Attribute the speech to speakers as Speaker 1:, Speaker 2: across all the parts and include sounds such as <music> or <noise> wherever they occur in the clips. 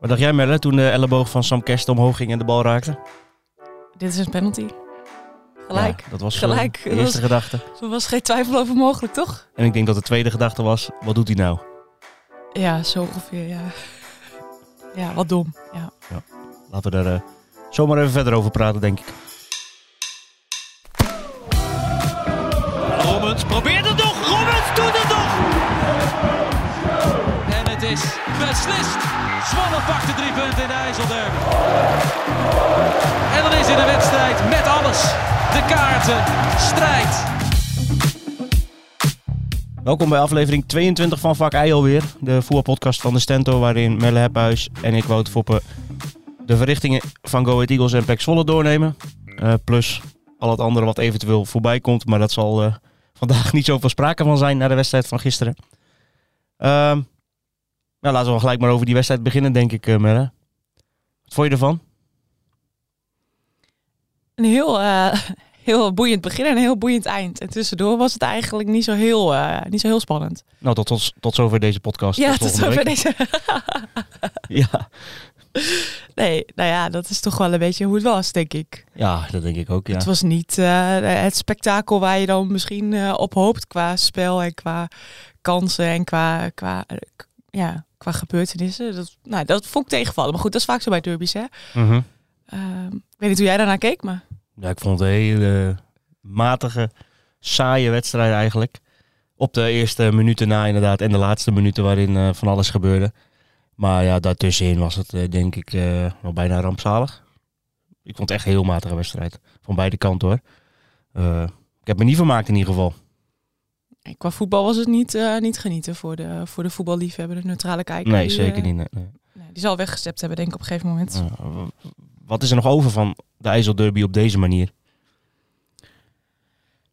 Speaker 1: Wat dacht jij Merle toen de elleboog van Sam Kersten omhoog ging en de bal raakte?
Speaker 2: Dit is een penalty. Gelijk.
Speaker 1: Ja, dat was
Speaker 2: Gelijk.
Speaker 1: gelijk. de
Speaker 2: Dat
Speaker 1: eerste
Speaker 2: was-
Speaker 1: gedachte.
Speaker 2: Er was geen twijfel over mogelijk, toch?
Speaker 1: En ik denk dat de tweede gedachte was, wat doet hij nou?
Speaker 2: Ja, zo ongeveer, ja. <laughs> Ja, wat dom. Ja.
Speaker 1: Laten we daar eh, zomaar even verder over praten, denk ik.
Speaker 3: Robbins probeert het nog. Robbins doet het nog. En het is beslist. Zwolle pakt de drie punten in de IJsselderby. En dan is in de wedstrijd met alles. De kaarten, strijd.
Speaker 1: Welkom bij aflevering 22 van Vak IJ alweer. De voetbalpodcast van de Stento, waarin Merle Hephuis en ik, Wout Foppen, de verrichtingen van Go Ahead Eagles en PEC Zwolle doornemen. Eh, plus al het andere wat eventueel voorbij komt, maar dat zal eh, vandaag niet zoveel sprake van zijn na de wedstrijd van gisteren. Ehm, nou, laten we wel gelijk maar over die wedstrijd beginnen, denk ik, eh, Merle. Wat vond je ervan?
Speaker 2: Een heel, eh, <laughs> heel boeiend begin en een heel boeiend eind. En tussendoor was het eigenlijk niet zo heel, eh, niet zo heel spannend.
Speaker 1: Nou, tot, tot, tot zover deze podcast.
Speaker 2: ja, tot
Speaker 1: volgende
Speaker 2: zover
Speaker 1: week.
Speaker 2: deze. <laughs>
Speaker 1: Ja.
Speaker 2: Nee, nou ja, dat is toch wel een beetje hoe het was, denk ik.
Speaker 1: ja, dat denk ik ook, ja.
Speaker 2: Het was niet eh, het spektakel waar je dan misschien eh, op hoopt qua spel en qua kansen en qua, qua, eh, k- ja, qua gebeurtenissen. Dat, nou, dat vond ik tegenvallen. Maar goed, dat is vaak zo bij derbies, hè.
Speaker 1: Mhm.
Speaker 2: Ehm, ik weet niet hoe jij daarnaar keek, maar
Speaker 1: Ja, ik vond het een hele matige, saaie wedstrijd eigenlijk. Op de eerste minuten na inderdaad en de laatste minuten waarin eh, van alles gebeurde. Maar ja, daartussenin was het eh, denk ik eh, wel bijna rampzalig. Ik vond het echt een heel matige wedstrijd. Van beide kanten hoor. Eh, ik heb me niet vermaakt in ieder geval.
Speaker 2: qua voetbal was het niet, eh, niet genieten voor de, voor de voetballiefhebber, de neutrale kijker.
Speaker 1: nee,
Speaker 2: Die,
Speaker 1: zeker
Speaker 2: eh,
Speaker 1: niet. nee, nee.
Speaker 2: nee, die zal weggestept hebben, denk ik, op een gegeven moment.
Speaker 1: Ja, w- wat is er nog over van de IJsselderby op deze manier?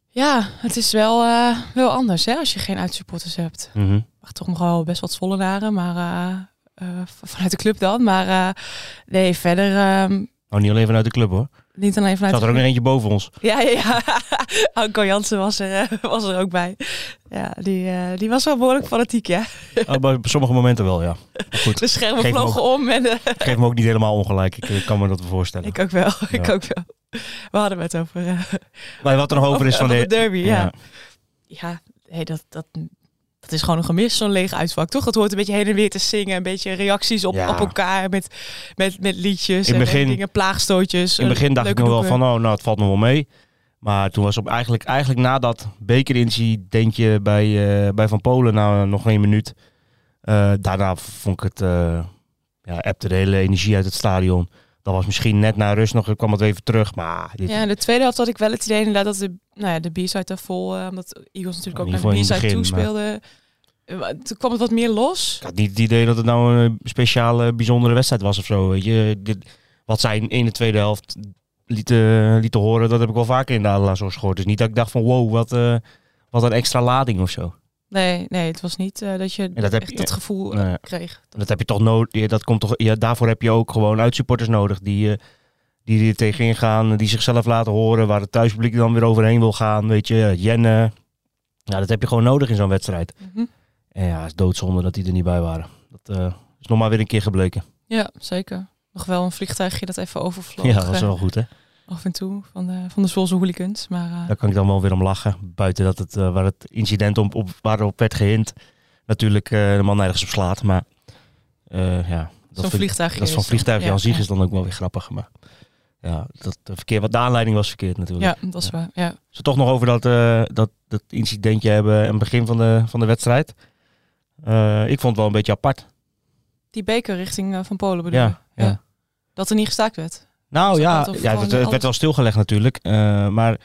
Speaker 2: Ja, het is wel, eh, wel anders, hè, als je geen uitsupporters hebt.
Speaker 1: Mhm.
Speaker 2: mag toch nog wel best wat Zwollenaren, maar eh, eh, v- vanuit de club dan. Maar eh, nee, verder ehm,
Speaker 1: Nou, niet alleen vanuit de club hoor.
Speaker 2: niet alleen vanuit
Speaker 1: Zat er
Speaker 2: de
Speaker 1: ook nog eentje boven ons.
Speaker 2: Ja, ja, ja. <laughs> Anko Jansen was er, eh, was er ook bij. Ja, die, eh, die was wel behoorlijk fanatiek, ja.
Speaker 1: Oh, bij sommige momenten wel,
Speaker 2: <laughs>
Speaker 1: ja. Maar goed.
Speaker 2: De schermen
Speaker 1: Geef hem
Speaker 2: vlogen om en eh,
Speaker 1: Ik geef me ook niet helemaal ongelijk. Ik eh, kan me dat wel voorstellen.
Speaker 2: ik ook wel, <laughs> ik
Speaker 1: Ja.
Speaker 2: ook wel. We hadden het over, eh,
Speaker 1: maar wat er nog over is van
Speaker 2: <laughs> over
Speaker 1: de...
Speaker 2: de derby, ja.
Speaker 1: Ja.
Speaker 2: Ja, nee, dat... dat dat is gewoon een gemis, zo'n leeg uitvak, toch? Het hoort een beetje heen en weer te zingen. Een beetje reacties op,
Speaker 1: Ja.
Speaker 2: op elkaar met, met, met liedjes
Speaker 1: In
Speaker 2: en, en
Speaker 1: begin-
Speaker 2: dingen, plaagstootjes.
Speaker 1: In het begin dacht ik nog wel van, oh, nou, het valt me wel mee. Maar toen was op eigenlijk, eigenlijk na dat bekerincidentje bij, eh, bij Van Polen, na nog één minuut. eh, daarna vond ik het, eh ja, appte de hele energie uit het stadion. Dat was misschien net na rust nog, kwam het even terug. Maar dit,
Speaker 2: Ja, in de tweede helft had ik wel het idee inderdaad dat de, nou ja, de B-side daar vol... eh, omdat Eagles natuurlijk
Speaker 1: In
Speaker 2: ook
Speaker 1: ieder geval
Speaker 2: naar de
Speaker 1: in het
Speaker 2: B-side
Speaker 1: begin,
Speaker 2: toe
Speaker 1: maar-
Speaker 2: speelden. Eh, maar Toen kwam het wat meer los.
Speaker 1: ik had niet het idee dat het nou een speciale, bijzondere wedstrijd was of zo. Weet je, dit, wat zij in de tweede helft lieten, eh, lieten horen, dat heb ik wel vaker in de Adelaarshorst gehoord. Dus niet dat ik dacht van, wow, wat, eh, wat een extra lading of zo.
Speaker 2: Nee, nee, het was niet eh, dat je
Speaker 1: En dat heb
Speaker 2: echt
Speaker 1: je-
Speaker 2: dat gevoel eh,
Speaker 1: Nou ja.
Speaker 2: kreeg.
Speaker 1: Dat heb je toch nodig. ja, Dat komt toch. Ja, daarvoor heb je ook gewoon uitsupporters nodig die, eh, die er tegenin gaan, die zichzelf laten horen, waar het thuispubliek dan weer overheen wil gaan. Weet je, Jenne. Ja, dat heb je gewoon nodig in zo'n wedstrijd.
Speaker 2: Mhm.
Speaker 1: En ja, het is doodzonde dat die er niet bij waren. Dat eh, is nog maar weer een keer gebleken.
Speaker 2: Ja, zeker. Nog wel een vliegtuigje dat even overvloog.
Speaker 1: ja, dat is
Speaker 2: eh,
Speaker 1: wel goed, hè?
Speaker 2: Af en toe van de, van de Zwolse hooligans. Maar eh,
Speaker 1: Daar kan ik dan wel weer om lachen. Buiten dat het, eh, waar het incident om, op, waarop werd gehint, natuurlijk eh, de man nergens op slaat. Maar eh, ja, dat
Speaker 2: zo'n
Speaker 1: vind ik-
Speaker 2: vliegtuigje
Speaker 1: Dat is van
Speaker 2: is dan-
Speaker 1: vliegtuigje
Speaker 2: ja,
Speaker 1: aan zich
Speaker 2: ja.
Speaker 1: is dan ook wel weer grappig. Maar ja, dat eh, verkeer, wat de aanleiding was verkeerd natuurlijk.
Speaker 2: Ja, dat is waar. Ja.
Speaker 1: Ze toch nog over dat, eh, dat, dat incidentje hebben aan het begin van de, van de wedstrijd. Eh, ik vond het wel een beetje apart.
Speaker 2: Die beker richting eh, Van Polen bedoel
Speaker 1: Ja,
Speaker 2: je?
Speaker 1: ja.
Speaker 2: Dat er niet gestaakt werd.
Speaker 1: Nou
Speaker 2: Dus dat
Speaker 1: ja,
Speaker 2: had of
Speaker 1: ja
Speaker 2: gewoon
Speaker 1: het, het
Speaker 2: alles-
Speaker 1: werd wel stilgelegd natuurlijk. eh, maar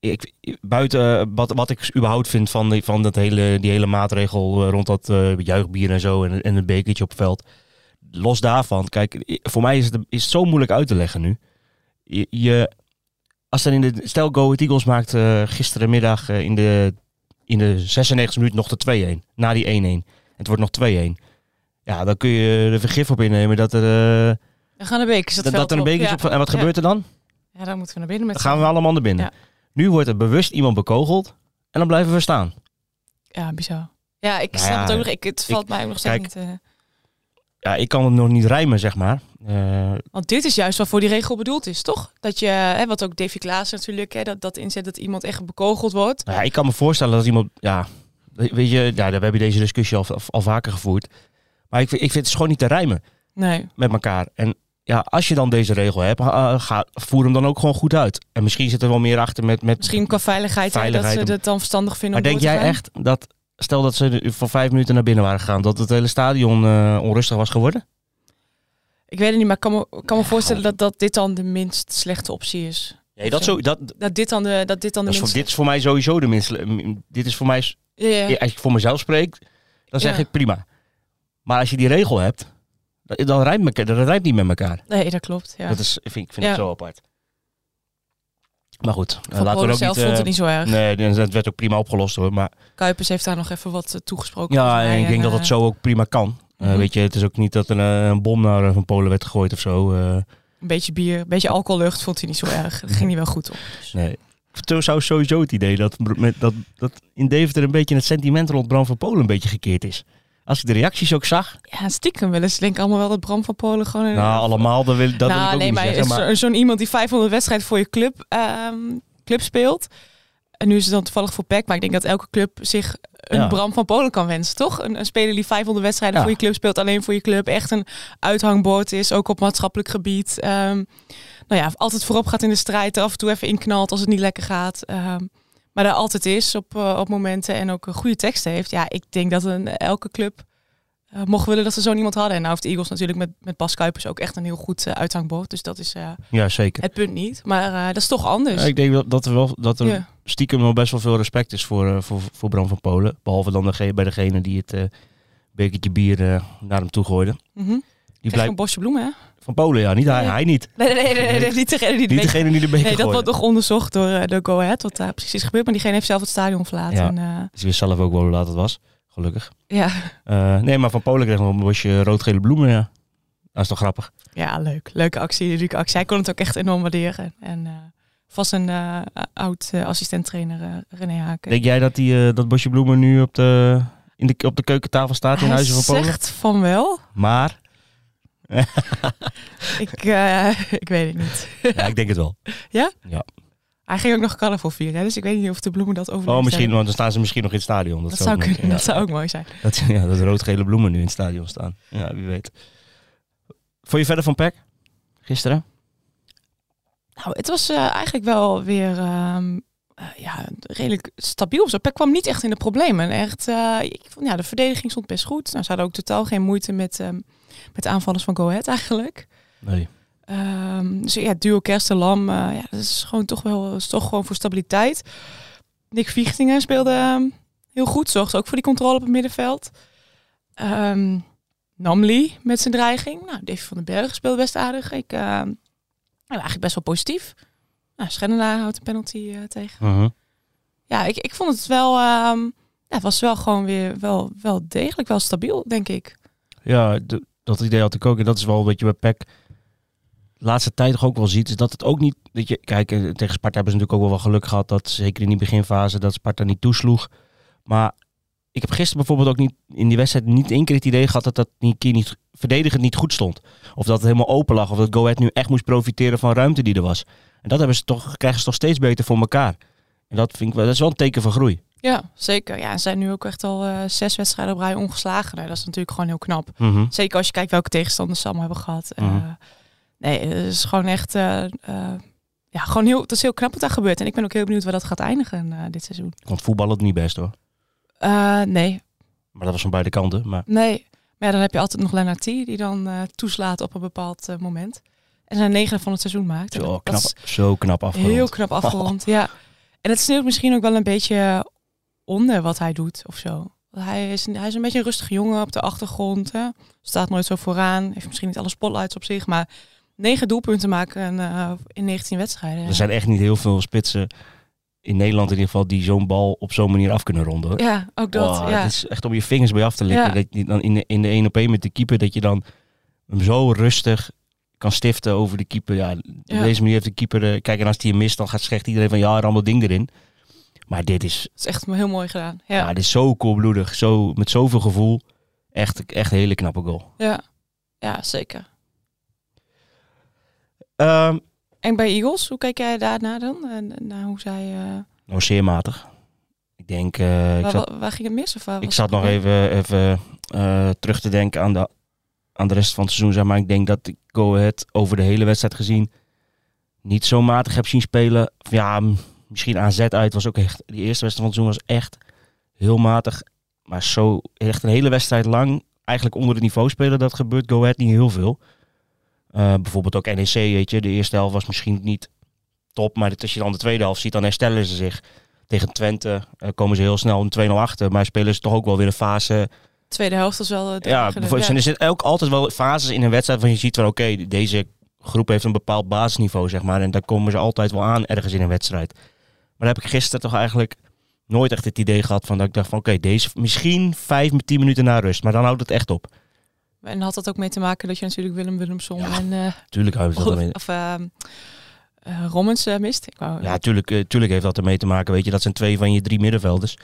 Speaker 1: ik, buiten eh, wat, wat ik überhaupt vind van, die, van dat hele, die hele maatregel eh, rond dat eh, juichbier en zo en, en een bekertje op het veld. Los daarvan, kijk, i- voor mij is het, is het zo moeilijk uit te leggen nu. Je, je- als er in de, stel Go Ahead Eagles maakt eh, gisterenmiddag eh, in, de, in de 96 minuut nog de 2-1, na die 1-1. En Het wordt nog 2-1. Ja, dan kun je er vergif op innemen dat er, eh,
Speaker 2: Dan gaan de bekers het
Speaker 1: dat, dat
Speaker 2: veld
Speaker 1: er een
Speaker 2: op.
Speaker 1: bekertje
Speaker 2: ja.
Speaker 1: op... En wat
Speaker 2: Ja.
Speaker 1: gebeurt er dan?
Speaker 2: Ja, dan moeten we naar binnen met
Speaker 1: Dan
Speaker 2: z'n
Speaker 1: gaan we allemaal naar binnen.
Speaker 2: Ja.
Speaker 1: Nu wordt er bewust iemand bekogeld en dan blijven we staan.
Speaker 2: Ja, bizar. Ja, ik
Speaker 1: Nou
Speaker 2: snap
Speaker 1: ja,
Speaker 2: het ook nog. Ik, het valt mij ook nog steeds
Speaker 1: kijk,
Speaker 2: niet. eh,
Speaker 1: ja, ik kan het nog niet rijmen, zeg maar. Eh,
Speaker 2: Want dit is juist wat voor die regel bedoeld is, toch? Dat je, hè, wat ook Davy Klaas natuurlijk, hè, dat, dat inzet dat iemand echt bekogeld wordt.
Speaker 1: nou ja, ik kan me voorstellen dat iemand, ja, we- weet je, ja, we hebben deze discussie al, al, al vaker gevoerd. Maar ik, vind- ik vind het gewoon niet te rijmen
Speaker 2: Nee.
Speaker 1: met elkaar. En ja, als je dan deze regel hebt, ha- eh, ga, voer hem dan ook gewoon goed uit. En misschien zit er wel meer achter met... met
Speaker 2: Misschien qua veiligheid, hè,
Speaker 1: Veiligheid
Speaker 2: dat ze
Speaker 1: om-
Speaker 2: dat dan verstandig vinden
Speaker 1: maar
Speaker 2: om
Speaker 1: denk
Speaker 2: door te
Speaker 1: jij
Speaker 2: gaan.
Speaker 1: echt dat, stel dat ze voor vijf minuten naar binnen waren gegaan, dat het hele stadion eh, onrustig was geworden?
Speaker 2: Ik weet het niet, maar ik kan me, kan me voorstellen dat, dat dit dan de minst slechte optie is.
Speaker 1: Nee,
Speaker 2: dat zo-
Speaker 1: dat,
Speaker 2: Dat dit dan de, dat dit dan de
Speaker 1: Dat is
Speaker 2: minst...
Speaker 1: voor, dit is voor mij sowieso de minste. m- Dit is voor mij, s-
Speaker 2: Ja, ja.
Speaker 1: als ik voor mezelf spreek, dan zeg
Speaker 2: Ja.
Speaker 1: ik prima. Maar als je die regel hebt, dan, dan rijmt meka- dat rijmt niet met elkaar.
Speaker 2: Nee, dat klopt. Ja.
Speaker 1: Dat is, ik vind ik vind het
Speaker 2: Ja.
Speaker 1: zo apart. Maar goed, eh,
Speaker 2: Van
Speaker 1: laten we
Speaker 2: Polen
Speaker 1: er ook
Speaker 2: zelf
Speaker 1: niet.
Speaker 2: vond
Speaker 1: eh,
Speaker 2: het niet zo erg.
Speaker 1: Nee, dat- dat werd ook prima opgelost hoor. Maar
Speaker 2: Kuipers heeft daar nog even wat eh, toegesproken.
Speaker 1: ja,
Speaker 2: volgens mij.
Speaker 1: en ik denk dat dat
Speaker 2: eh,
Speaker 1: zo ook prima kan. Eh,
Speaker 2: Mhm.
Speaker 1: Weet je, het is ook niet dat er eh, een bom naar eh, van Polen werd gegooid of zo. eh,
Speaker 2: Een beetje bier, een beetje alcohollucht vond
Speaker 1: <laughs>
Speaker 2: hij niet zo erg. Daar ging hij wel goed op. Dus.
Speaker 1: nee. Ik heb zo- sowieso het idee dat, met, dat, dat in Deventer een beetje het sentiment rond Bram van Polen een beetje gekeerd is. Als ik de reacties ook zag,
Speaker 2: Ja, stiekem wel eens. Denk ik allemaal wel dat Bram van Polen gewoon... een-
Speaker 1: Nou, allemaal, dat wil, dat wil
Speaker 2: nou,
Speaker 1: ik ook
Speaker 2: nee,
Speaker 1: niet
Speaker 2: maar,
Speaker 1: zeggen.
Speaker 2: is
Speaker 1: Maar,
Speaker 2: zo- zo'n iemand die 500 wedstrijden voor je club, ehm, club speelt. En nu is het dan toevallig voor PEC, maar ik denk dat elke club zich een
Speaker 1: Ja.
Speaker 2: Bram van Polen kan wensen, toch? Een, een speler die 500 wedstrijden
Speaker 1: Ja.
Speaker 2: voor je club speelt, alleen voor je club. Echt een uithangbord is, ook op maatschappelijk gebied. Ehm, nou ja, altijd voorop gaat in de strijd, er af en toe even inknalt als het niet lekker gaat. Ehm, maar daar altijd is op, eh, op momenten en ook een goede teksten heeft. Ja, ik denk dat een, elke club eh, mocht willen dat ze zo'n iemand hadden. En nou heeft de Eagles natuurlijk met, met Bas Kuipers ook echt een heel goed eh, uithangbord. Dus dat is eh,
Speaker 1: ja, zeker.
Speaker 2: het punt niet. Maar eh, dat is toch anders.
Speaker 1: Ja, ik denk dat, dat er, wel, dat er
Speaker 2: Ja.
Speaker 1: stiekem wel best wel veel respect is voor, eh, voor, voor Bram van Polen. Behalve dan dege- bij degene die het eh, bekertje bier eh, naar hem toe gooide.
Speaker 2: Mhm. Krijg
Speaker 1: Die
Speaker 2: je
Speaker 1: blijft
Speaker 2: een bosje bloemen, hè?
Speaker 1: van Polen, ja. Niet hij,
Speaker 2: Nee.
Speaker 1: hij niet.
Speaker 2: Nee, nee, nee, nee, nee, niet degene die het
Speaker 1: Niet
Speaker 2: weet.
Speaker 1: degene die de beker
Speaker 2: Nee, dat
Speaker 1: gooide.
Speaker 2: wordt nog onderzocht door, eh, door Go Ahead, wat daar precies is gebeurd. Maar diegene heeft zelf het stadion verlaten.
Speaker 1: Ja.
Speaker 2: En, eh,
Speaker 1: Ze wist zelf ook wel hoe laat het was, gelukkig.
Speaker 2: ja.
Speaker 1: Eh, nee, maar van Polen kreeg nog een bosje rood-gele bloemen, ja. Dat is toch grappig?
Speaker 2: ja, leuk. Leuke actie, leuke actie. Hij kon het ook echt enorm waarderen. En eh, vast een eh, oud eh, assistent-trainer, eh, René Haken.
Speaker 1: Denk jij dat die, eh, dat bosje bloemen nu op de, in de, op de keukentafel staat in
Speaker 2: Hij
Speaker 1: Huizen van Polen?
Speaker 2: zegt van wel.
Speaker 1: Maar,
Speaker 2: Ik, eh, <laughs> ik weet het niet.
Speaker 1: <laughs> ja, ik denk het wel.
Speaker 2: Hij ging ook nog carnaval vieren, hè, dus ik weet niet of de bloemen dat overleefd
Speaker 1: Oh, misschien,
Speaker 2: hebben.
Speaker 1: want dan staan ze misschien nog in het stadion. Dat,
Speaker 2: Dat zou
Speaker 1: ook nog-
Speaker 2: kunnen,
Speaker 1: ja.
Speaker 2: dat zou ook mooi zijn.
Speaker 1: Dat, ja, dat rood-gele bloemen nu in het stadion staan. Ja, wie weet. Vond je verder van Peck? Gisteren?
Speaker 2: Nou, het was eh, eigenlijk wel weer ehm, eh, ja, redelijk stabiel. of Zo. Pek kwam niet echt in de problemen. Echt, eh, ik vond, ja, de verdediging stond best goed. Nou, ze hadden ook totaal geen moeite met, ehm, met de aanvallers van Go Ahead eigenlijk.
Speaker 1: Nee.
Speaker 2: Ehm, dus ja, duo Kerst en Lam, eh, ja, dat is gewoon toch wel is toch gewoon voor stabiliteit. Nick Vichtingen speelde ehm, heel goed, zorgde ook voor die controle op het middenveld. Ehm Namli met zijn dreiging. Nou, Davy van den Berg speelde best aardig. Ik ehm, nou, eigenlijk best wel positief. Nou, Schendenaar houdt een penalty eh, tegen.
Speaker 1: Uh-huh.
Speaker 2: Ja, ik, ik vond het wel... ehm, ja, het was wel gewoon weer wel, wel degelijk, wel stabiel, denk ik.
Speaker 1: Ja, d- dat idee had ik ook. En dat is wel wat je bij Peck de laatste tijd toch ook wel ziet. Is dat het ook niet... Dat je, kijk, eh, tegen Sparta hebben ze natuurlijk ook wel wel geluk gehad. Dat, zeker in die beginfase dat Sparta niet toesloeg. Maar ik heb gisteren bijvoorbeeld ook niet in die wedstrijd niet één keer het idee gehad dat dat die keer niet verdedigend niet goed stond. Of dat het helemaal open lag. Of dat Go Ahead nu echt moest profiteren van ruimte die er was. En dat hebben ze toch, krijgen ze toch steeds beter voor elkaar. En dat vind ik wel, dat is wel een teken van groei.
Speaker 2: Ja, zeker. Ja, en ze zijn nu ook echt al eh, zes wedstrijden op rij ongeslagen. Nou, dat is natuurlijk gewoon heel knap. Zeker als je kijkt welke tegenstanders ze allemaal hebben gehad. Eh,
Speaker 1: Mhm.
Speaker 2: nee, het is gewoon echt... eh, eh, ja, gewoon heel, het is heel knap wat daar gebeurt. En ik ben ook heel benieuwd waar dat gaat eindigen eh, dit seizoen.
Speaker 1: Want voetballen het niet best hoor.
Speaker 2: Eh, nee,
Speaker 1: Maar dat was van beide kanten. Maar
Speaker 2: nee. Maar ja, dan heb je altijd nog Lennart T. die dan eh, toeslaat op een bepaald eh, moment. En zijn negen van het seizoen maakt. En
Speaker 1: zo
Speaker 2: dat
Speaker 1: knap,
Speaker 2: is
Speaker 1: zo knap afgerond.
Speaker 2: Heel knap afgerond, ja. En het sneeuwt misschien ook wel een beetje onder wat hij doet of zo. Hij is, een- hij is een beetje een rustige jongen op de achtergrond. Hè. Staat nooit zo vooraan. Heeft misschien niet alle spotlights op zich. Maar negen doelpunten maken eh, in 19 wedstrijden.
Speaker 1: Er zijn echt niet heel veel spitsen in Nederland in ieder geval die zo'n bal op zo'n manier af kunnen ronden. hoor.
Speaker 2: Ja, ook dat.
Speaker 1: Wow,
Speaker 2: ja.
Speaker 1: Het is echt om je vingers bij af te likken.
Speaker 2: Ja.
Speaker 1: Dat je dan in de, in de 1 op 1 met de keeper, dat je dan hem zo rustig kan stiften over de keeper. Ja,
Speaker 2: Ja.
Speaker 1: Op deze manier heeft de keeper... eh, kijk, en als die hem mist, dan gaat zegt iedereen van ja, ram dat ding erin. Maar dit is,
Speaker 2: Het is echt heel mooi gedaan.
Speaker 1: ja.
Speaker 2: Ja,
Speaker 1: dit is zo koelbloedig. Zo, met zoveel gevoel. Echt, echt een hele knappe goal.
Speaker 2: ja. ja, zeker.
Speaker 1: Ehm
Speaker 2: En bij Eagles, hoe kijk jij daarna dan? En, naar hoe zij, eh,
Speaker 1: nou, zeer matig. Ik denk, eh, ik
Speaker 2: waar,
Speaker 1: zat,
Speaker 2: waar ging het mis? Of waar
Speaker 1: ik
Speaker 2: was
Speaker 1: zat
Speaker 2: het
Speaker 1: nog
Speaker 2: probleem?
Speaker 1: even, even eh, terug te denken aan de, aan de rest van het seizoen. Zeg maar ik denk dat ik Go Ahead over de hele wedstrijd gezien niet zo matig heb zien spelen. Of Ja, m- misschien AZ uit was ook echt... Die eerste wedstrijd van het seizoen was echt heel matig. Maar zo echt een hele wedstrijd lang eigenlijk onder het niveau spelen, dat gebeurt Go Ahead niet heel veel. Eh, bijvoorbeeld ook NEC, weet je. De eerste helft was misschien niet top, maar als je dan de tweede helft ziet, dan herstellen ze zich. Tegen Twente eh, komen ze heel snel een 2-0 achter, maar spelen ze toch ook wel weer een fase.
Speaker 2: Tweede helft was wel... eh, de
Speaker 1: Ja,
Speaker 2: ergere-
Speaker 1: bijvoorbeeld- en er zitten ook altijd wel fases in een wedstrijd van je ziet van oké, deze groep heeft een bepaald basisniveau, zeg maar. En daar komen ze altijd wel aan ergens in een wedstrijd. Maar dan heb ik gisteren toch eigenlijk nooit echt het idee gehad van dat ik dacht van oké, deze misschien 5, 10 minuten na rust, maar dan houdt het echt op.
Speaker 2: En had dat ook mee te maken dat je natuurlijk Willem Willemson
Speaker 1: Ja.
Speaker 2: en eh,
Speaker 1: Tuurlijk houdt het Dus dat ermee.
Speaker 2: of, ehm, eh, Rommens eh, mist? Ik wou,
Speaker 1: Ja, tuurlijk, eh, tuurlijk heeft dat ermee te maken. Weet je, dat zijn twee van je drie middenvelders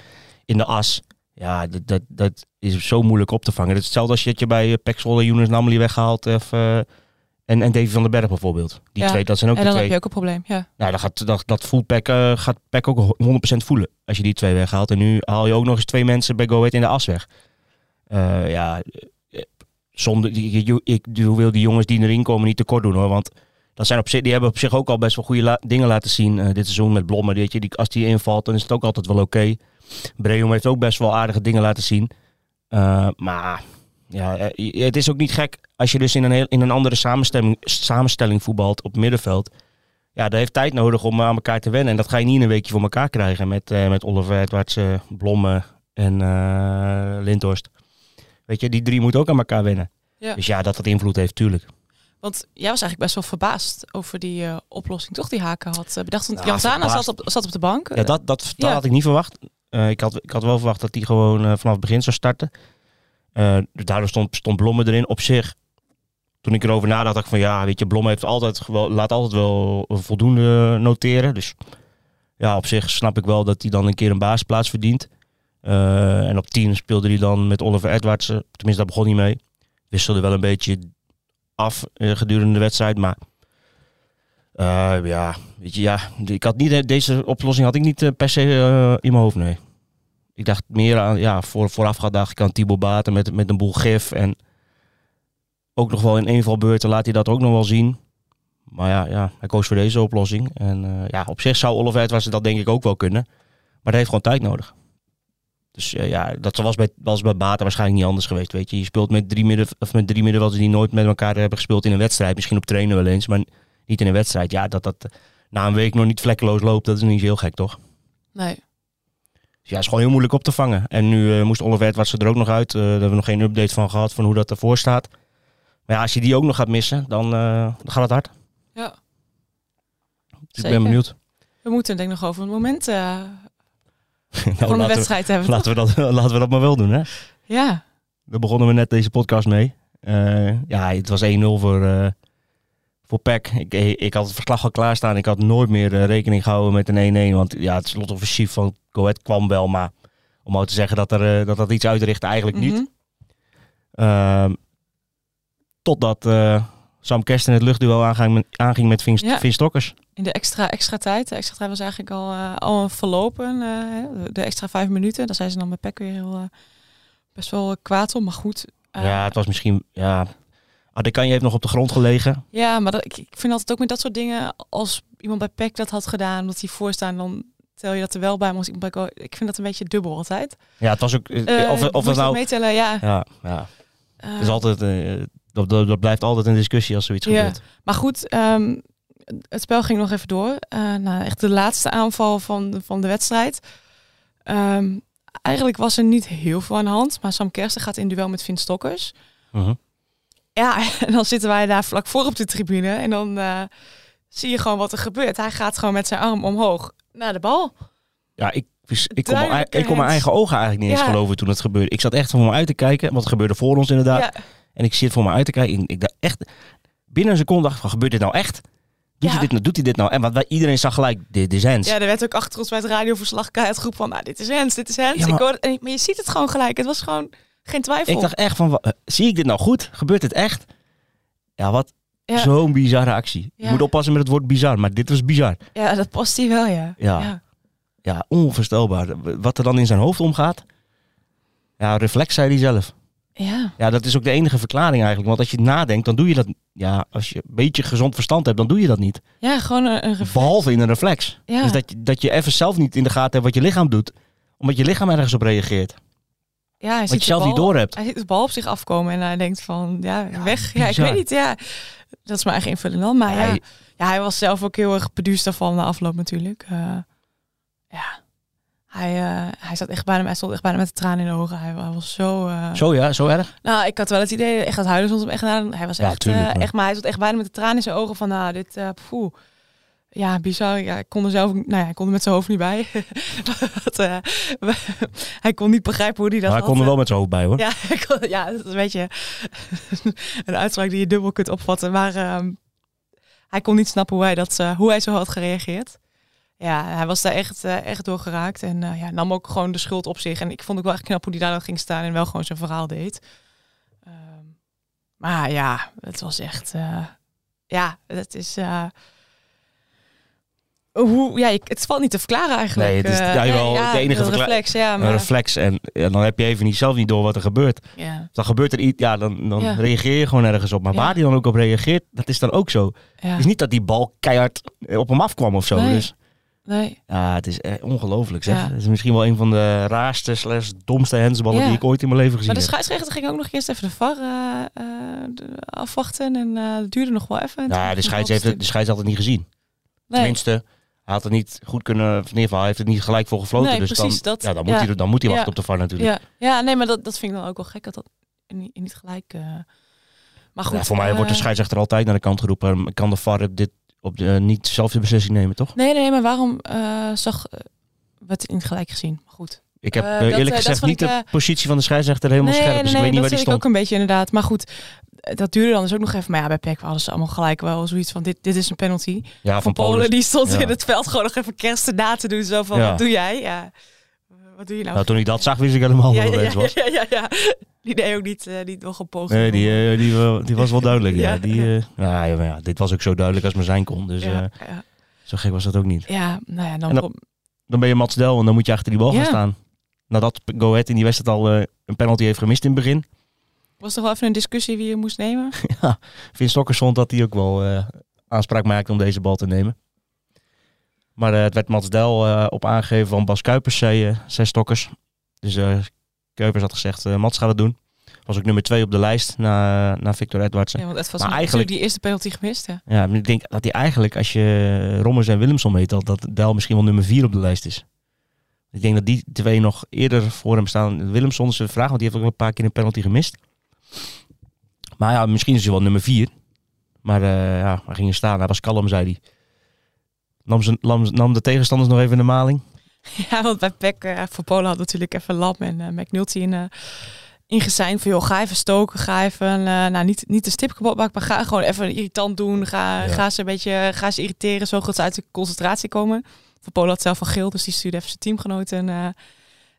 Speaker 1: in de as. Ja, dat, dat, dat is zo moeilijk op te vangen. Het is hetzelfde als je dat je bij eh, Pek Zwolle Younes Namely weghaalt. Of, eh, en, en Davy van den Berg bijvoorbeeld. Die
Speaker 2: Ja.
Speaker 1: twee, dat zijn ook
Speaker 2: en
Speaker 1: de
Speaker 2: dan
Speaker 1: twee.
Speaker 2: heb je ook een probleem, ja.
Speaker 1: Nou, dat, gaat, dat, dat voelt Pek, eh, gaat Pek ook 100% voelen als je die twee weghaalt. En nu haal je ook nog eens twee mensen bij Go Ahead in de as weg. Eh, ja, eh, zonder, je, je- ik wil die jongens die erin komen niet tekort doen hoor. Want dat zijn op zich, die hebben op zich ook al best wel goede la- dingen laten zien eh, dit seizoen met Blommen. Weet je, die, als die invalt, dan is het ook altijd wel oké. Breum heeft ook best wel aardige dingen laten zien. Eh, maar ja, eh, je- het is ook niet gek als je dus in een, heel, in een andere samenstelling, samenstelling voetbalt op middenveld. Ja, dat heeft tijd nodig om aan elkaar te wennen. En dat ga je niet in een weekje voor elkaar krijgen met, eh, met Oliver Edwards, eh, Blommen en eh Lindhorst. Weet je, die drie moeten ook aan elkaar wennen.
Speaker 2: Ja.
Speaker 1: Dus ja, dat dat invloed heeft, tuurlijk.
Speaker 2: Want jij was eigenlijk best wel verbaasd over die eh, oplossing, toch? Die Haken had eh, bedacht. Want
Speaker 1: Ja,
Speaker 2: Jan Zana
Speaker 1: verbaasd.
Speaker 2: zat op, zat op de bank.
Speaker 1: Ja, dat, dat, dat
Speaker 2: Ja.
Speaker 1: had ik niet verwacht. Eh, ik, had, ik had wel verwacht dat hij gewoon eh, vanaf het begin zou starten. Eh, dus daardoor stond, stond Blomme erin. Op zich, toen ik erover nadacht, dacht ik van ja, weet je, Blomme heeft altijd wel, laat altijd wel eh, voldoende noteren. Dus ja, op zich snap ik wel dat hij dan een keer een baasplaats verdient. Eh, en op 10 speelde hij dan met Oliver Edwards. eh, Tenminste, daar begon hij mee. Wisselde wel een beetje af eh, gedurende de wedstrijd. Maar eh, ja, weet je, ja, ik had niet, deze oplossing had ik niet eh, per se eh, in mijn hoofd, nee. Ik dacht meer aan, ja, voor, vooraf gaat dacht ik aan Thibaut Baten met, met een boel gif. En ook nog wel in invalbeurten laat hij dat ook nog wel zien. Maar ja, ja hij koos voor deze oplossing. En eh, ja, op zich zou Oliver Edwards dat denk ik ook wel kunnen. Maar dat heeft gewoon tijd nodig. Dus eh, ja, dat was bij, was bij Baten waarschijnlijk niet anders geweest, weet je. Je speelt met drie midden, of met drie middenvelders die nooit met elkaar hebben gespeeld in een wedstrijd. Misschien op trainen wel eens, maar niet in een wedstrijd. Ja, dat dat na een week nog niet vlekkeloos loopt, dat is niet zo heel gek, toch?
Speaker 2: Nee.
Speaker 1: Dus ja, is gewoon heel moeilijk op te vangen. En nu eh, moest Oliver Edwards er ook nog uit. Eh, daar hebben we nog geen update van gehad, van hoe dat ervoor staat. Maar ja, als je die ook nog gaat missen, dan, eh, dan gaat het hard.
Speaker 2: Ja.
Speaker 1: Dus ik
Speaker 2: Zeker.
Speaker 1: ben benieuwd. <laughs>
Speaker 2: We moeten denk ik nog over een moment eh,
Speaker 1: Nou,
Speaker 2: voor een
Speaker 1: Oh, laten,
Speaker 2: wedstrijd hebben.
Speaker 1: we, laten, we dat, <laughs> laten we dat maar wel doen, hè?
Speaker 2: Ja.
Speaker 1: Daar begonnen we net deze podcast mee. Eh, ja, het was 1-0 voor, eh voor PEC. Ik, eh, ik had het verslag al klaarstaan. Ik had nooit meer eh, rekening gehouden met een 1-1. Want ja, het slotoffensief van Coët kwam wel. Maar om ook te zeggen dat, er, eh, dat dat iets uitrichtte, eigenlijk niet.
Speaker 2: Mhm.
Speaker 1: Ehm, totdat eh, Sam Kersten het luchtduel aanging met, aanging met Vin,
Speaker 2: Ja.
Speaker 1: Vin Stokkers.
Speaker 2: In de extra, extra tijd. De extra tijd was eigenlijk al, eh, al verlopen. eh, hè. de extra vijf minuten. Daar zijn ze dan met Peck weer heel, eh, best wel kwaad om. Maar goed. eh,
Speaker 1: ja, het was misschien... Ja, Adekanje heeft nog op de grond gelegen.
Speaker 2: Ja, maar dat, ik, ik vind altijd ook met dat soort dingen, als iemand bij PEC dat had gedaan, omdat hij voorstaan, dan tel je dat er wel bij. Maar als iemand bij Go- ik vind dat een beetje dubbel altijd.
Speaker 1: Ja, het was ook... eh,
Speaker 2: Eh,
Speaker 1: of,
Speaker 2: moet
Speaker 1: of
Speaker 2: je
Speaker 1: het nou...
Speaker 2: meetellen, ja.
Speaker 1: Ja, ja.
Speaker 2: Eh,
Speaker 1: Het is altijd, eh, dat, dat, dat blijft altijd een discussie als zoiets
Speaker 2: Ja.
Speaker 1: gebeurt.
Speaker 2: Maar goed, ehm, het spel ging nog even door. Eh nou, echt de laatste aanval van, van de wedstrijd. Ehm, eigenlijk was er niet heel veel aan de hand, maar Sam Kersten gaat in duel met Vin Stokkers.
Speaker 1: Mhm.
Speaker 2: Ja, <laughs> en dan zitten wij daar vlak voor op de tribune. En dan eh, zie je gewoon wat er gebeurt. Hij gaat gewoon met zijn arm omhoog naar de bal.
Speaker 1: Ja, ik, ik, kon, mijn,
Speaker 2: Duidelijke
Speaker 1: ik kon mijn
Speaker 2: hands.
Speaker 1: eigen ogen eigenlijk niet eens
Speaker 2: Ja.
Speaker 1: geloven toen het gebeurde. Ik zat echt voor me uit te kijken, want het gebeurde voor ons inderdaad.
Speaker 2: Ja.
Speaker 1: En ik zit voor me uit te kijken. Ik dacht echt, binnen een seconde dacht ik van, gebeurt dit nou echt? Doet,
Speaker 2: Ja.
Speaker 1: hij, dit, nou- doet hij dit nou? En wat, wij- iedereen zag gelijk, dit is Hens.
Speaker 2: Ja, er werd ook achter ons bij het radioverslag het groep van, nou, dit is Hens, dit is Hens.
Speaker 1: Ja,
Speaker 2: maar...
Speaker 1: maar-
Speaker 2: Ik hoorde, en ik- maar je ziet het gewoon gelijk. Het was gewoon geen twijfel.
Speaker 1: ik dacht echt van, wa- eh, zie ik dit nou goed? Gebeurt dit echt? Ja, wat
Speaker 2: Ja.
Speaker 1: zo'n bizarre actie. Je
Speaker 2: Ja.
Speaker 1: moet oppassen met het woord bizar, maar dit was bizar.
Speaker 2: Ja, dat past hij wel, ja.
Speaker 1: Ja. Ja, onvoorstelbaar. Wat er dan in zijn hoofd omgaat. Ja, reflex zei hij zelf.
Speaker 2: Ja.
Speaker 1: Ja, dat is ook de enige verklaring eigenlijk. Want als je nadenkt, dan doe je dat... Ja, als je een beetje gezond verstand hebt, dan doe je dat niet.
Speaker 2: Ja, gewoon een, een reflex.
Speaker 1: Behalve in een reflex.
Speaker 2: Ja.
Speaker 1: Dus dat je, dat je even zelf niet in de gaten hebt wat je lichaam doet. Omdat je lichaam ergens op reageert.
Speaker 2: ja, hij
Speaker 1: Wat
Speaker 2: ziet
Speaker 1: je
Speaker 2: de
Speaker 1: zelf niet
Speaker 2: bal-
Speaker 1: door hebt.
Speaker 2: Hij ziet de bal op zich afkomen en hij denkt van, ja, weg. Ja, ik
Speaker 1: bizar.
Speaker 2: weet niet, ja. Dat is mijn eigen invulling dan. Maar ja,
Speaker 1: Hij-
Speaker 2: ja, hij was zelf ook heel erg beduusd daarvan na afloop natuurlijk. Eh, ja. Hij, eh, hij zat echt bijna, hij stond echt bijna met de tranen in de ogen. Hij, hij was zo... eh,
Speaker 1: Zo ja, zo erg.
Speaker 2: Nou, ik had wel het idee, dat echt dat huilen stond hem echt aan. Hij was
Speaker 1: Ja,
Speaker 2: echt,
Speaker 1: tuurlijk,
Speaker 2: eh,
Speaker 1: maar-
Speaker 2: echt, maar hij zat echt bijna met de tranen in zijn ogen van, nou, dit, eh poeh. Ja, bizar. Ja, ik kon er zelf, ook- nou ja, ik kon er met zijn hoofd niet bij. <laughs> Want, eh, <laughs> we- hij kon niet begrijpen hoe hij dat
Speaker 1: Maar hij
Speaker 2: had. eh.
Speaker 1: kon Nou, er wel met zijn hoofd bij hoor.
Speaker 2: Ja, <laughs> ik kon- ja, dat is een beetje <laughs> een uitspraak die je dubbel kunt opvatten. Maar ehm, hij kon niet snappen hoe hij, dat, eh, hoe hij zo had gereageerd. Ja, hij was daar echt, eh, echt door geraakt. En eh, ja, nam ook gewoon de schuld op zich. En ik vond ook wel echt knap hoe hij daar dan ging staan en wel gewoon zijn verhaal deed. Ehm, maar ja, het was echt... eh, ja, het is... eh, hoe, ja, ik- het valt niet te verklaren eigenlijk.
Speaker 1: Nee, het is-
Speaker 2: Eh,
Speaker 1: ja, jawel, de enige
Speaker 2: een
Speaker 1: verkla-
Speaker 2: reflex, ja,
Speaker 1: Een
Speaker 2: maar,
Speaker 1: reflex en ja, dan heb je even niet, zelf niet door wat er gebeurt.
Speaker 2: ja,
Speaker 1: Dus Dan gebeurt er iets, ja, dan, dan
Speaker 2: Ja.
Speaker 1: reageer je gewoon ergens op. Maar
Speaker 2: Ja.
Speaker 1: waar hij dan ook op reageert, dat is dan ook zo.
Speaker 2: ja,
Speaker 1: Het is niet dat die bal keihard eh, op hem afkwam of zo.
Speaker 2: Nee.
Speaker 1: Dus
Speaker 2: nee.
Speaker 1: ja, het is eh, ongelooflijk zeg.
Speaker 2: Ja.
Speaker 1: Het is misschien wel een van de raarste slash domste hensballen
Speaker 2: Ja.
Speaker 1: die ik ooit in mijn leven gezien
Speaker 2: Maar de
Speaker 1: heb.
Speaker 2: scheidsrechter ging ook nog eerst even de VAR eh, eh, de- afwachten en eh het duurde nog wel even.
Speaker 1: Ja,
Speaker 2: En toen
Speaker 1: de
Speaker 2: ging
Speaker 1: scheids
Speaker 2: hij
Speaker 1: heeft het, de
Speaker 2: opsturen.
Speaker 1: scheids had het niet gezien.
Speaker 2: Nee,
Speaker 1: Tenminste, hij had het niet goed kunnen... of In ieder geval, hij heeft het niet gelijk voor gefloten.
Speaker 2: Nee,
Speaker 1: dus
Speaker 2: precies,
Speaker 1: dan,
Speaker 2: dat-
Speaker 1: ja, dan, moet
Speaker 2: ja.
Speaker 1: hij, dan moet hij wachten
Speaker 2: Ja.
Speaker 1: op de VAR natuurlijk.
Speaker 2: ja, ja, nee, maar dat, dat vind ik dan ook wel gek dat dat niet, niet gelijk... eh, maar goed,
Speaker 1: Ja, voor mij
Speaker 2: eh,
Speaker 1: wordt de scheidsrechter altijd naar de kant geroepen. Kan de VAR op dit, op de, eh, niet zelf de beslissing nemen, toch?
Speaker 2: Nee, nee, maar waarom eh, zag... eh, werd het niet gelijk gezien? Maar goed.
Speaker 1: Ik heb
Speaker 2: Eh,
Speaker 1: eh,
Speaker 2: dat, eh,
Speaker 1: eerlijk
Speaker 2: dat
Speaker 1: gezegd
Speaker 2: vond
Speaker 1: niet
Speaker 2: ik,
Speaker 1: de positie van de scheidsrechter helemaal
Speaker 2: nee,
Speaker 1: scherp. Dus
Speaker 2: nee,
Speaker 1: ik weet niet
Speaker 2: nee,
Speaker 1: waar die
Speaker 2: dat vind ik
Speaker 1: stond.
Speaker 2: ook een beetje inderdaad. Maar goed, eh, dat duurde dan dus ook nog even. Maar ja, bij PEC hadden ze allemaal gelijk wel zoiets van dit, dit is een penalty.
Speaker 1: Ja,
Speaker 2: van Polen, die stond
Speaker 1: ja.
Speaker 2: in het veld gewoon nog even kersten na te doen. Zo van,
Speaker 1: Ja.
Speaker 2: wat doe jij? Ja. Wat doe je nou?
Speaker 1: Nou, toen ik dat zag, wist ik helemaal
Speaker 2: ja,
Speaker 1: wat
Speaker 2: ja,
Speaker 1: het
Speaker 2: ja,
Speaker 1: was.
Speaker 2: ja, ja, ja. Die deed ook niet, eh, niet nog een poging.
Speaker 1: Nee, die, eh, die, wel- die was wel duidelijk. Ja.
Speaker 2: <laughs> Ja.
Speaker 1: Die, eh, nou, ja, maar ja, dit was ook zo duidelijk als maar zijn kon. Dus
Speaker 2: ja,
Speaker 1: eh,
Speaker 2: ja.
Speaker 1: zo gek was dat ook niet.
Speaker 2: ja, nou ja, dan...
Speaker 1: En dan-
Speaker 2: kom-
Speaker 1: Dan ben je Mats Del en dan moet je achter die bal gaan
Speaker 2: Ja.
Speaker 1: staan. Nadat Go Ahead in die wedstrijd al eh, een penalty heeft gemist in het begin.
Speaker 2: was er wel even een discussie wie je moest
Speaker 1: <laughs>
Speaker 2: nemen?
Speaker 1: Vin Stokkers vond dat hij ook wel eh, aanspraak maakte om deze bal te nemen. Maar eh, het werd Mats Del eh, op aangegeven van Bas Kuipers, zei, eh zei Stokkers. Dus eh, Kuipers had gezegd, eh, Mats gaat het doen. Was ook nummer twee op de lijst na, na Victor Edwardsen.
Speaker 2: Ja, want het was
Speaker 1: Maar
Speaker 2: natuurlijk
Speaker 1: eigenlijk-
Speaker 2: die eerste penalty gemist, hè?
Speaker 1: Ja, maar ik denk dat hij eigenlijk, als je Rommers en Willemson meetelt, dat Del misschien wel nummer vier op de lijst is. Ik denk dat die twee nog eerder voor hem staan. Willemson is een vraag, want die heeft ook een paar keer een penalty gemist. Maar ja, misschien is hij wel nummer vier. Maar eh, ja, hij ging er staan. Hij was kalm, zei hij. Nam, zijn, nam, nam de tegenstanders nog even in de maling.
Speaker 2: <laughs> Ja, want bij PEC eh, voor Polen had natuurlijk even Lab en eh, McNulty in, eh ingezijn van, joh, ga even stoken, ga even, eh, nou, niet, niet de stip kapot maken, maar ga gewoon even irritant doen, ga,
Speaker 1: Ja.
Speaker 2: ga ze een beetje, ga ze irriteren, zorg dat ze uit de concentratie komen. Voor Polen had zelf van geel, dus die stuurde even zijn teamgenoten eh,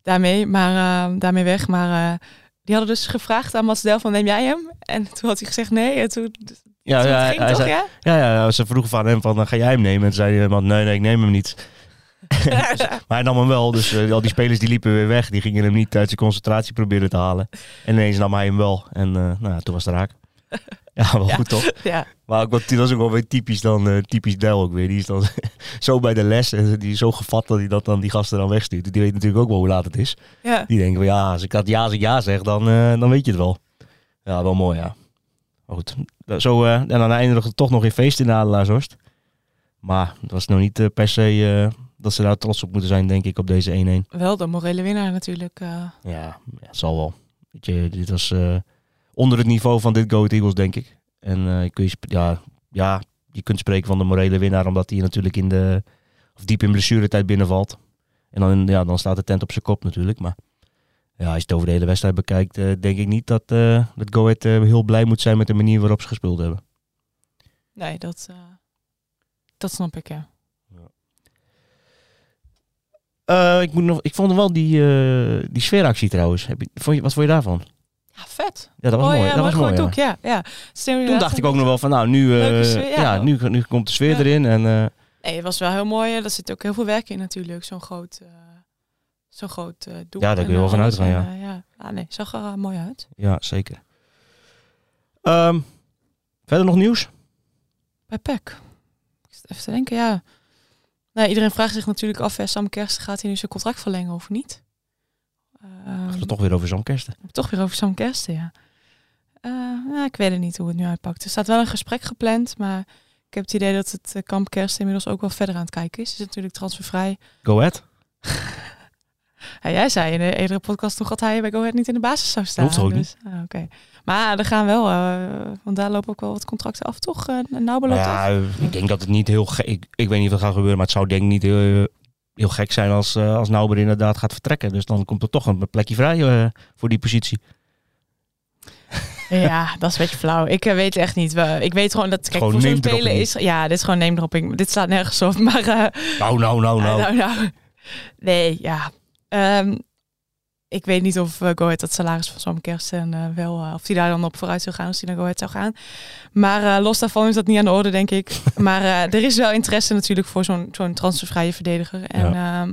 Speaker 2: daarmee, maar, eh, daarmee weg, maar... eh, die hadden dus gevraagd aan Mats Del van neem jij hem? En toen had hij gezegd nee. En toen, toen
Speaker 1: Ja, ja,
Speaker 2: het ging
Speaker 1: hij
Speaker 2: toch,
Speaker 1: zei-
Speaker 2: ja?
Speaker 1: ja, ja, ze vroegen van hem van, "Dan ga jij hem nemen? En toen zei hij, "Man, nee, nee, ik neem hem niet. <laughs> Dus, Maar hij nam hem wel, dus eh, al die spelers die liepen weer weg. Die gingen hem niet uit zijn concentratie proberen te halen. En ineens nam hij hem wel. En eh, nou, ja, toen was het raak. Ja, wel
Speaker 2: Ja.
Speaker 1: goed toch?
Speaker 2: ja.
Speaker 1: Maar ook, wat- dat is ook wel weer typisch dan, eh, typisch Del ook weer. Die is dan <laughs> zo bij de les en die is zo gevat dat hij dat dan die gasten dan wegstuurt. Die weet natuurlijk ook wel hoe laat het is.
Speaker 2: ja.
Speaker 1: <laughs> Die denken van ja, als ik dat ja, als ik ja zeg, dan, eh, dan weet je het wel. Ja, wel mooi ja. Maar goed, dat- zo, eh, en dan eindigde het toch nog in feest in de Adelaarshorst. Maar het was nou niet eh, per se eh, dat ze daar trots op moeten zijn, denk ik, op deze 1-1.
Speaker 2: Wel de morele winnaar natuurlijk. eh.
Speaker 1: Ja, ja, het zal wel. Weet je, dit was eh, onder het niveau van dit Go Ahead Eagles, denk ik. En eh, kun je, sp- ja, ja, je kunt spreken van de morele winnaar, omdat hij natuurlijk in de, of diep in blessuretijd binnenvalt. En dan, ja, dan staat de tent op zijn kop natuurlijk. Maar ja, als je het over de hele wedstrijd bekijkt, eh, denk ik niet dat, eh dat Go Ahead eh, heel blij moet zijn met de manier waarop ze gespeeld hebben.
Speaker 2: Nee, dat, eh, dat snap ik, ja.
Speaker 1: Eh, ik, moet nog, ik vond wel die, eh, die sfeeractie trouwens. Heb je, vond je, wat vond je daarvan?
Speaker 2: Ja, vet.
Speaker 1: Ja, dat was
Speaker 2: Mooi,
Speaker 1: mooi.
Speaker 2: Oh ja,
Speaker 1: dat was
Speaker 2: mooi
Speaker 1: mooi. ja.
Speaker 2: doek, ja. ja.
Speaker 1: Toen dacht ik ook nog wel van, nou, nu, eh,
Speaker 2: Leuke sfeer, ja.
Speaker 1: ja. nu, nu komt de sfeer
Speaker 2: Ja.
Speaker 1: erin. En, eh,
Speaker 2: Nee, het was wel heel mooi. eh, Daar zit ook heel veel werk in natuurlijk. Zo'n groot, eh zo'n groot eh doek.
Speaker 1: Ja, daar kun je
Speaker 2: en,
Speaker 1: wel van
Speaker 2: eh, alles.
Speaker 1: uitgaan, ja.
Speaker 2: En, eh, ja. Ah, nee, zag er eh, mooi uit.
Speaker 1: ja, zeker. Ehm, verder nog nieuws?
Speaker 2: Bij Peck. Ik zit even te denken, ja. Nou, iedereen vraagt zich natuurlijk af, hè, Sam Kerst, gaat hij nu zijn contract verlengen of niet? Ehm,
Speaker 1: Gaat het toch weer over zo'n kersten?
Speaker 2: Toch weer over Sam Kersten, ja. Eh, nou, ik weet het niet hoe het nu uitpakt. Er staat wel een gesprek gepland, maar ik heb het idee dat het eh, kamp Kersten inmiddels ook wel verder aan het kijken is. Het is natuurlijk transfervrij.
Speaker 1: Go ahead.
Speaker 2: Ja, jij zei in de eerdere podcast nog dat hij bij Go Ahead niet in de basis zou staan.
Speaker 1: hoeft ook
Speaker 2: dus, niet. Oké. Maar er gaan wel, eh, want daar lopen ook wel wat contracten af, toch? Uh, nou
Speaker 1: Nou
Speaker 2: beloopt af.
Speaker 1: ja, ik denk dat het niet heel gek... Ik, ik weet niet of dat gaat gebeuren, maar het zou denk ik niet heel, eh, heel gek zijn als, eh als Nauber inderdaad gaat vertrekken. Dus dan komt er toch een plekje vrij eh, voor die positie.
Speaker 2: Ja, dat is een beetje flauw. Ik eh, weet echt niet. We- Ik weet gewoon dat, kijk,
Speaker 1: Gewoon
Speaker 2: voor zo'n
Speaker 1: name dropping.
Speaker 2: spelen is... Ja, dit is gewoon name dropping. Dit staat nergens op, <laughs> maar... eh,
Speaker 1: Nou, nou, nou, nou.
Speaker 2: Nou, nou. Nee, ja. Ehm, ik weet niet of eh, Go Ahead dat salaris van Sam Kersten eh, wel... eh, of hij daar dan op vooruit zou gaan als hij naar Go Ahead zou gaan. Maar eh, los daarvan is dat niet aan de orde, denk ik. maar eh, er is wel interesse natuurlijk voor zo'n zo'n transfervrije verdediger. En ja.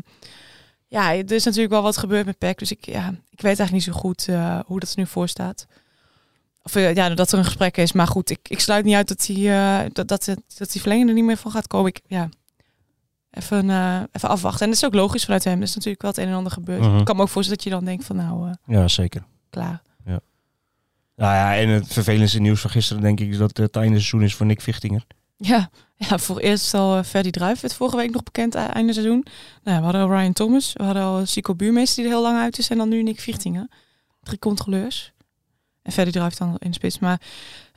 Speaker 2: ja, er is natuurlijk wel wat gebeurd met PEC. Dus ik, ja, ik weet eigenlijk niet zo goed eh, hoe dat er nu voor staat. Of eh, ja, dat er een gesprek is. Maar goed, ik, ik sluit niet uit dat die, eh, dat, dat, dat die verlenging er niet meer van gaat komen. Ik, ja, even, eh, even afwachten. En dat is ook logisch vanuit hem. Er is natuurlijk wel het een en ander gebeurd.
Speaker 1: Mhm.
Speaker 2: Ik kan me ook voorstellen dat je dan denkt van nou, eh,
Speaker 1: Ja, zeker.
Speaker 2: klaar.
Speaker 1: Nou ja, en het vervelendste nieuws van gisteren denk ik is dat eh, het einde seizoen is voor Nick Vichtinger.
Speaker 2: <laughs> Ja, ja voor eerst al eh, Ferdy Druif werd vorige week nog bekend eh, einde seizoen. Nou, we hadden al Ryan Thomas. We hadden al eh, Sico Buurmeester die er heel lang uit is. En dan nu Nick Viertingen. Drie controleurs. En Ferdy Druif dan in de spits. Maar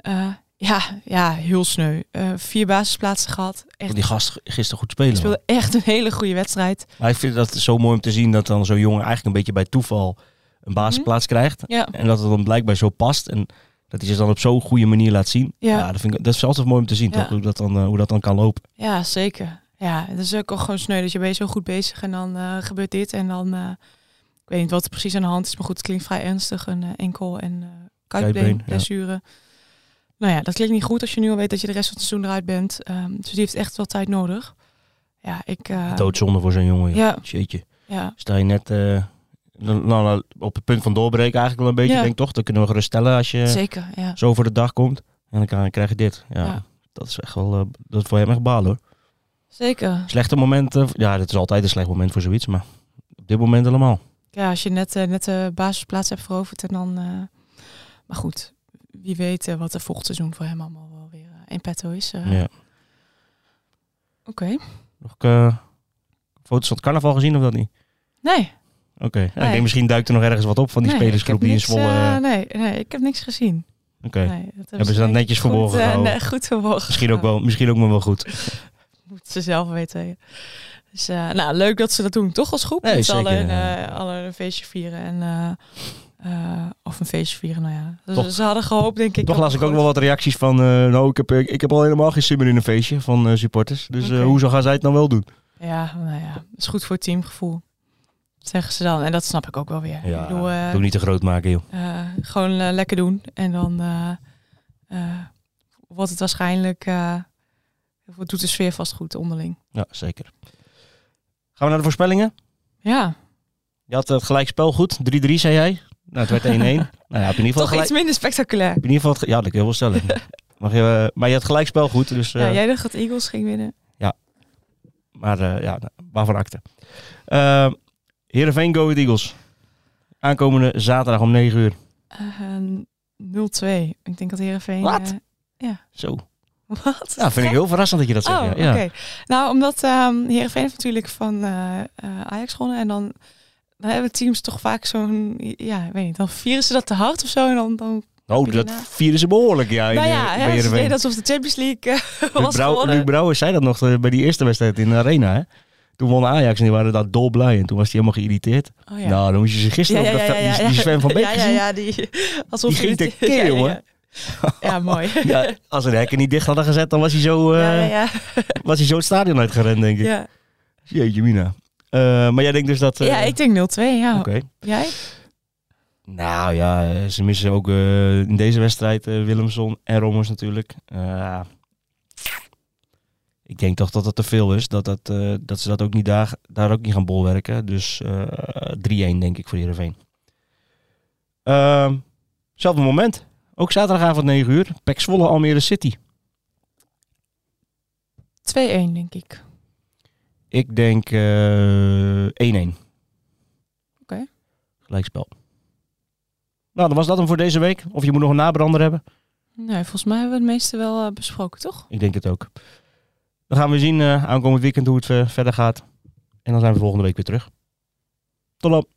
Speaker 2: eh, ja, ja, heel sneu. Eh, vier basisplaatsen gehad. Echt,
Speaker 1: Want die gast g- gisteren goed spelen.
Speaker 2: speelde echt een hele goede wedstrijd.
Speaker 1: Maar ik vind dat zo mooi om te zien dat dan zo'n jongen eigenlijk een beetje bij toeval een basisplaats krijgt.
Speaker 2: Mhm. Ja.
Speaker 1: En dat het dan blijkbaar zo past. En dat hij zich dan op zo'n goede manier laat zien.
Speaker 2: Ja.
Speaker 1: Ja, dat, vind ik, dat is altijd mooi om te zien,
Speaker 2: Ja.
Speaker 1: toch? Hoe dat, dan, eh, hoe dat dan kan lopen.
Speaker 2: Ja, zeker. Ja, het is ook al gewoon sneu. Dus je bent zo goed bezig en dan eh, gebeurt dit. En dan, eh, ik weet niet wat er precies aan de hand is, maar goed, het klinkt vrij ernstig. Een eh, enkel en eh kuitbeen,
Speaker 1: Kuitbeen, ja.
Speaker 2: blessure. Nou ja, dat klinkt niet goed als je nu al weet dat je de rest van het seizoen eruit bent. Ehm, dus die heeft echt wel tijd nodig. Ja, ik... eh,
Speaker 1: Doodzonde voor zo'n jongen. joh.
Speaker 2: Ja.
Speaker 1: Jeetje.
Speaker 2: ja,
Speaker 1: Sta je net eh, nou, nou, op het punt van doorbreken eigenlijk wel een beetje.
Speaker 2: Ja.
Speaker 1: Ik denk toch, dat kunnen we gerust stellen als je
Speaker 2: zeker. Ja.
Speaker 1: zo voor de dag komt. En dan kan- krijg je dit. Ja,
Speaker 2: Ja.
Speaker 1: Dat is echt wel, eh, dat is voor hem echt balen hoor.
Speaker 2: Zeker.
Speaker 1: Slechte momenten, ja dit is altijd een slecht moment voor zoiets, maar op dit moment helemaal.
Speaker 2: Ja, als je net, eh, net de basisplaats hebt veroverd en dan... eh, maar goed, wie weet eh, wat er volgend seizoen voor hem allemaal wel weer eh, in petto is. eh.
Speaker 1: Ja.
Speaker 2: Oké.
Speaker 1: Nog eh, foto's van het carnaval gezien of dat niet?
Speaker 2: Nee,
Speaker 1: Oké, Ja, ik
Speaker 2: Nee.
Speaker 1: denk misschien duikt er nog ergens wat op van die
Speaker 2: Nee,
Speaker 1: spelersgroep
Speaker 2: ik
Speaker 1: die in
Speaker 2: heb
Speaker 1: Zwolle...
Speaker 2: niks,
Speaker 1: eh,
Speaker 2: eh, nee, nee, ik heb niks gezien.
Speaker 1: Oké,
Speaker 2: Nee, dat
Speaker 1: Hebben ze dat
Speaker 2: denk ik
Speaker 1: netjes verborgen
Speaker 2: Goed, eh,
Speaker 1: gehouden?
Speaker 2: nee, goed verborgen.
Speaker 1: misschien, ook wel, misschien ook maar wel goed.
Speaker 2: Moeten ze zelf weten. ja. Dus, eh, nou, leuk dat ze dat doen, toch als groep.
Speaker 1: Nee,
Speaker 2: dat ze
Speaker 1: zeker,
Speaker 2: alle, een,
Speaker 1: ja.
Speaker 2: eh, alle een feestje vieren. En, eh, eh, of een feestje vieren, nou ja. Dus
Speaker 1: Toch-
Speaker 2: ze hadden gehoopt, denk ik.
Speaker 1: Toch
Speaker 2: dat
Speaker 1: las ik
Speaker 2: het
Speaker 1: ook
Speaker 2: goed-
Speaker 1: wel wat reacties van, eh, nou ik heb, ik, ik heb al helemaal geen zin meer in een feestje van eh, supporters. Dus eh,
Speaker 2: Oké.
Speaker 1: hoezo gaan zij het nou wel doen?
Speaker 2: Ja, nou ja. Dat is goed voor het teamgevoel. Zeggen ze dan. En dat snap ik ook wel weer. ik bedoel, eh,
Speaker 1: doe niet te groot maken joh.
Speaker 2: Eh, gewoon eh, lekker doen. En dan eh, eh, wordt het waarschijnlijk... eh, wat doet de sfeer vast goed onderling.
Speaker 1: Ja, zeker. Gaan we naar de voorspellingen?
Speaker 2: Ja,
Speaker 1: Je had het gelijkspel goed. 3-3 zei jij. Nou, het werd 1-1. nou
Speaker 2: <laughs>
Speaker 1: ja, heb je in ieder geval
Speaker 2: toch
Speaker 1: gelijk.
Speaker 2: iets minder spectaculair.
Speaker 1: heb je in ieder geval het ge- ja, dat kun je wel
Speaker 2: <laughs>
Speaker 1: stellen. Mag je, eh, maar je had gelijkspel goed. Dus, eh,
Speaker 2: Ja, jij dacht dat Eagles ging winnen.
Speaker 1: Maar eh ja, nou, waarvan akte. Eh Heerenveen Go Ahead Eagles. Aankomende zaterdag om 9 uur.
Speaker 2: Eh, 0-2. Ik denk dat Heerenveen...
Speaker 1: Wat?
Speaker 2: eh, <laughs>
Speaker 1: Zo.
Speaker 2: wat?
Speaker 1: Ja, vind ik heel verrassend dat je dat zegt.
Speaker 2: Oh,
Speaker 1: ja.
Speaker 2: oké.
Speaker 1: Ja.
Speaker 2: Nou, omdat ehm Heerenveen heeft natuurlijk van eh, eh, Ajax gewonnen. En dan, dan hebben teams toch vaak zo'n... Ja, ik weet niet. Dan vieren ze dat te hard of zo. En dan... dan
Speaker 1: Oh, dat vieren ze behoorlijk, ja. in,
Speaker 2: nou
Speaker 1: eh,
Speaker 2: ja,
Speaker 1: bij
Speaker 2: hè, ze
Speaker 1: Heerenveen.
Speaker 2: deden alsof de Champions League eh, <laughs>
Speaker 1: Luc,
Speaker 2: was
Speaker 1: Brouw,
Speaker 2: gewonnen.
Speaker 1: Luc Brouwer zei dat nog eh, bij die eerste wedstrijd in de Arena, hè. Toen won Ajax en die waren daar dolblij. En toen was hij helemaal geïrriteerd.
Speaker 2: Oh, ja.
Speaker 1: Nou, dan moest je ze gisteren op dat veld- die, die Sven van Beek
Speaker 2: ja, ja,
Speaker 1: gezien.
Speaker 2: ja, die, alsof
Speaker 1: Die
Speaker 2: je
Speaker 1: ging
Speaker 2: het-
Speaker 1: tekeer,
Speaker 2: <laughs> ja, ja, ja.
Speaker 1: jongen. <laughs>
Speaker 2: Ja, mooi.
Speaker 1: Ja, als ze de hekken niet dicht hadden gezet, dan was hij zo, eh,
Speaker 2: <laughs> ja, ja, ja.
Speaker 1: Was hij zo het stadion uitgerend, denk ik.
Speaker 2: ja.
Speaker 1: Jeetje mina. Eh, maar jij denkt dus dat... eh,
Speaker 2: Ja, ik denk 0-2, ja.
Speaker 1: Oké.
Speaker 2: Jij?
Speaker 1: Nou ja, eh, ze missen ook eh, in deze wedstrijd eh, Willemson en Rommers natuurlijk. Eh, ik denk toch dat dat te veel is. Dat, dat, eh, dat ze dat ook niet daar, daar ook niet gaan bolwerken. Dus eh 3-1 denk ik voor Heerenveen. Ehm zelfde moment. Ook zaterdagavond 9 uur. Pek Zwolle, Almere City.
Speaker 2: 2-1, denk ik.
Speaker 1: Ik denk eh, 1-1.
Speaker 2: Oké.
Speaker 1: Gelijkspel. Nou, dan was dat hem voor deze week. Of je moet nog een nabrander hebben.
Speaker 2: Nee, volgens mij hebben we het meeste wel eh, besproken, toch?
Speaker 1: Ik denk het ook. Dan gaan we zien eh, aankomend weekend hoe het eh, verder gaat. En dan zijn we volgende week weer terug. Tot dan.